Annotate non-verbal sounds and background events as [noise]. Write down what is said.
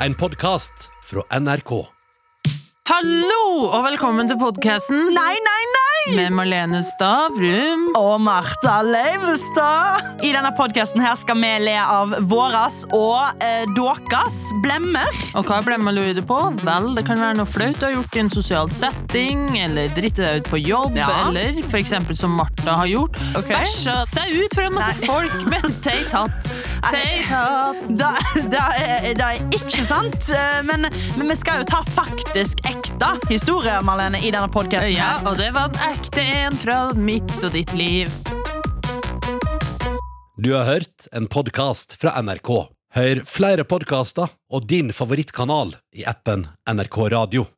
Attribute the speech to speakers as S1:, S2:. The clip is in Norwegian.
S1: En podkast fra NRK.
S2: Hallo og velkommen til podkasten
S3: Nei, nei, nei!
S2: med Marlene Stavrum.
S3: Og Martha Leivestad! I denne podkasten her skal vi le av våras og eh, deres blemmer.
S2: Og hva blemmer du det på? Vel, det kan være noe flaut du har gjort i en sosial setting, eller dritte deg ut på jobb,
S3: Ja.
S2: eller for eksempel som Martha har gjort,
S3: Ok.
S2: bæsja seg ut for en masse
S3: Nei.
S2: folk
S3: [laughs]
S2: med teitatt. Teitatt.
S3: Det er, da er ikke sant, eh, men, men vi skal jo ta faktisk ekte historier, Marlene, i denne podkasten.
S2: Ja, og det var en ekte en fra mitt og ditt liv.
S1: Du har hørt en podkast fra NRK. Hør flere podkaster og din favorittkanal i appen NRK Radio.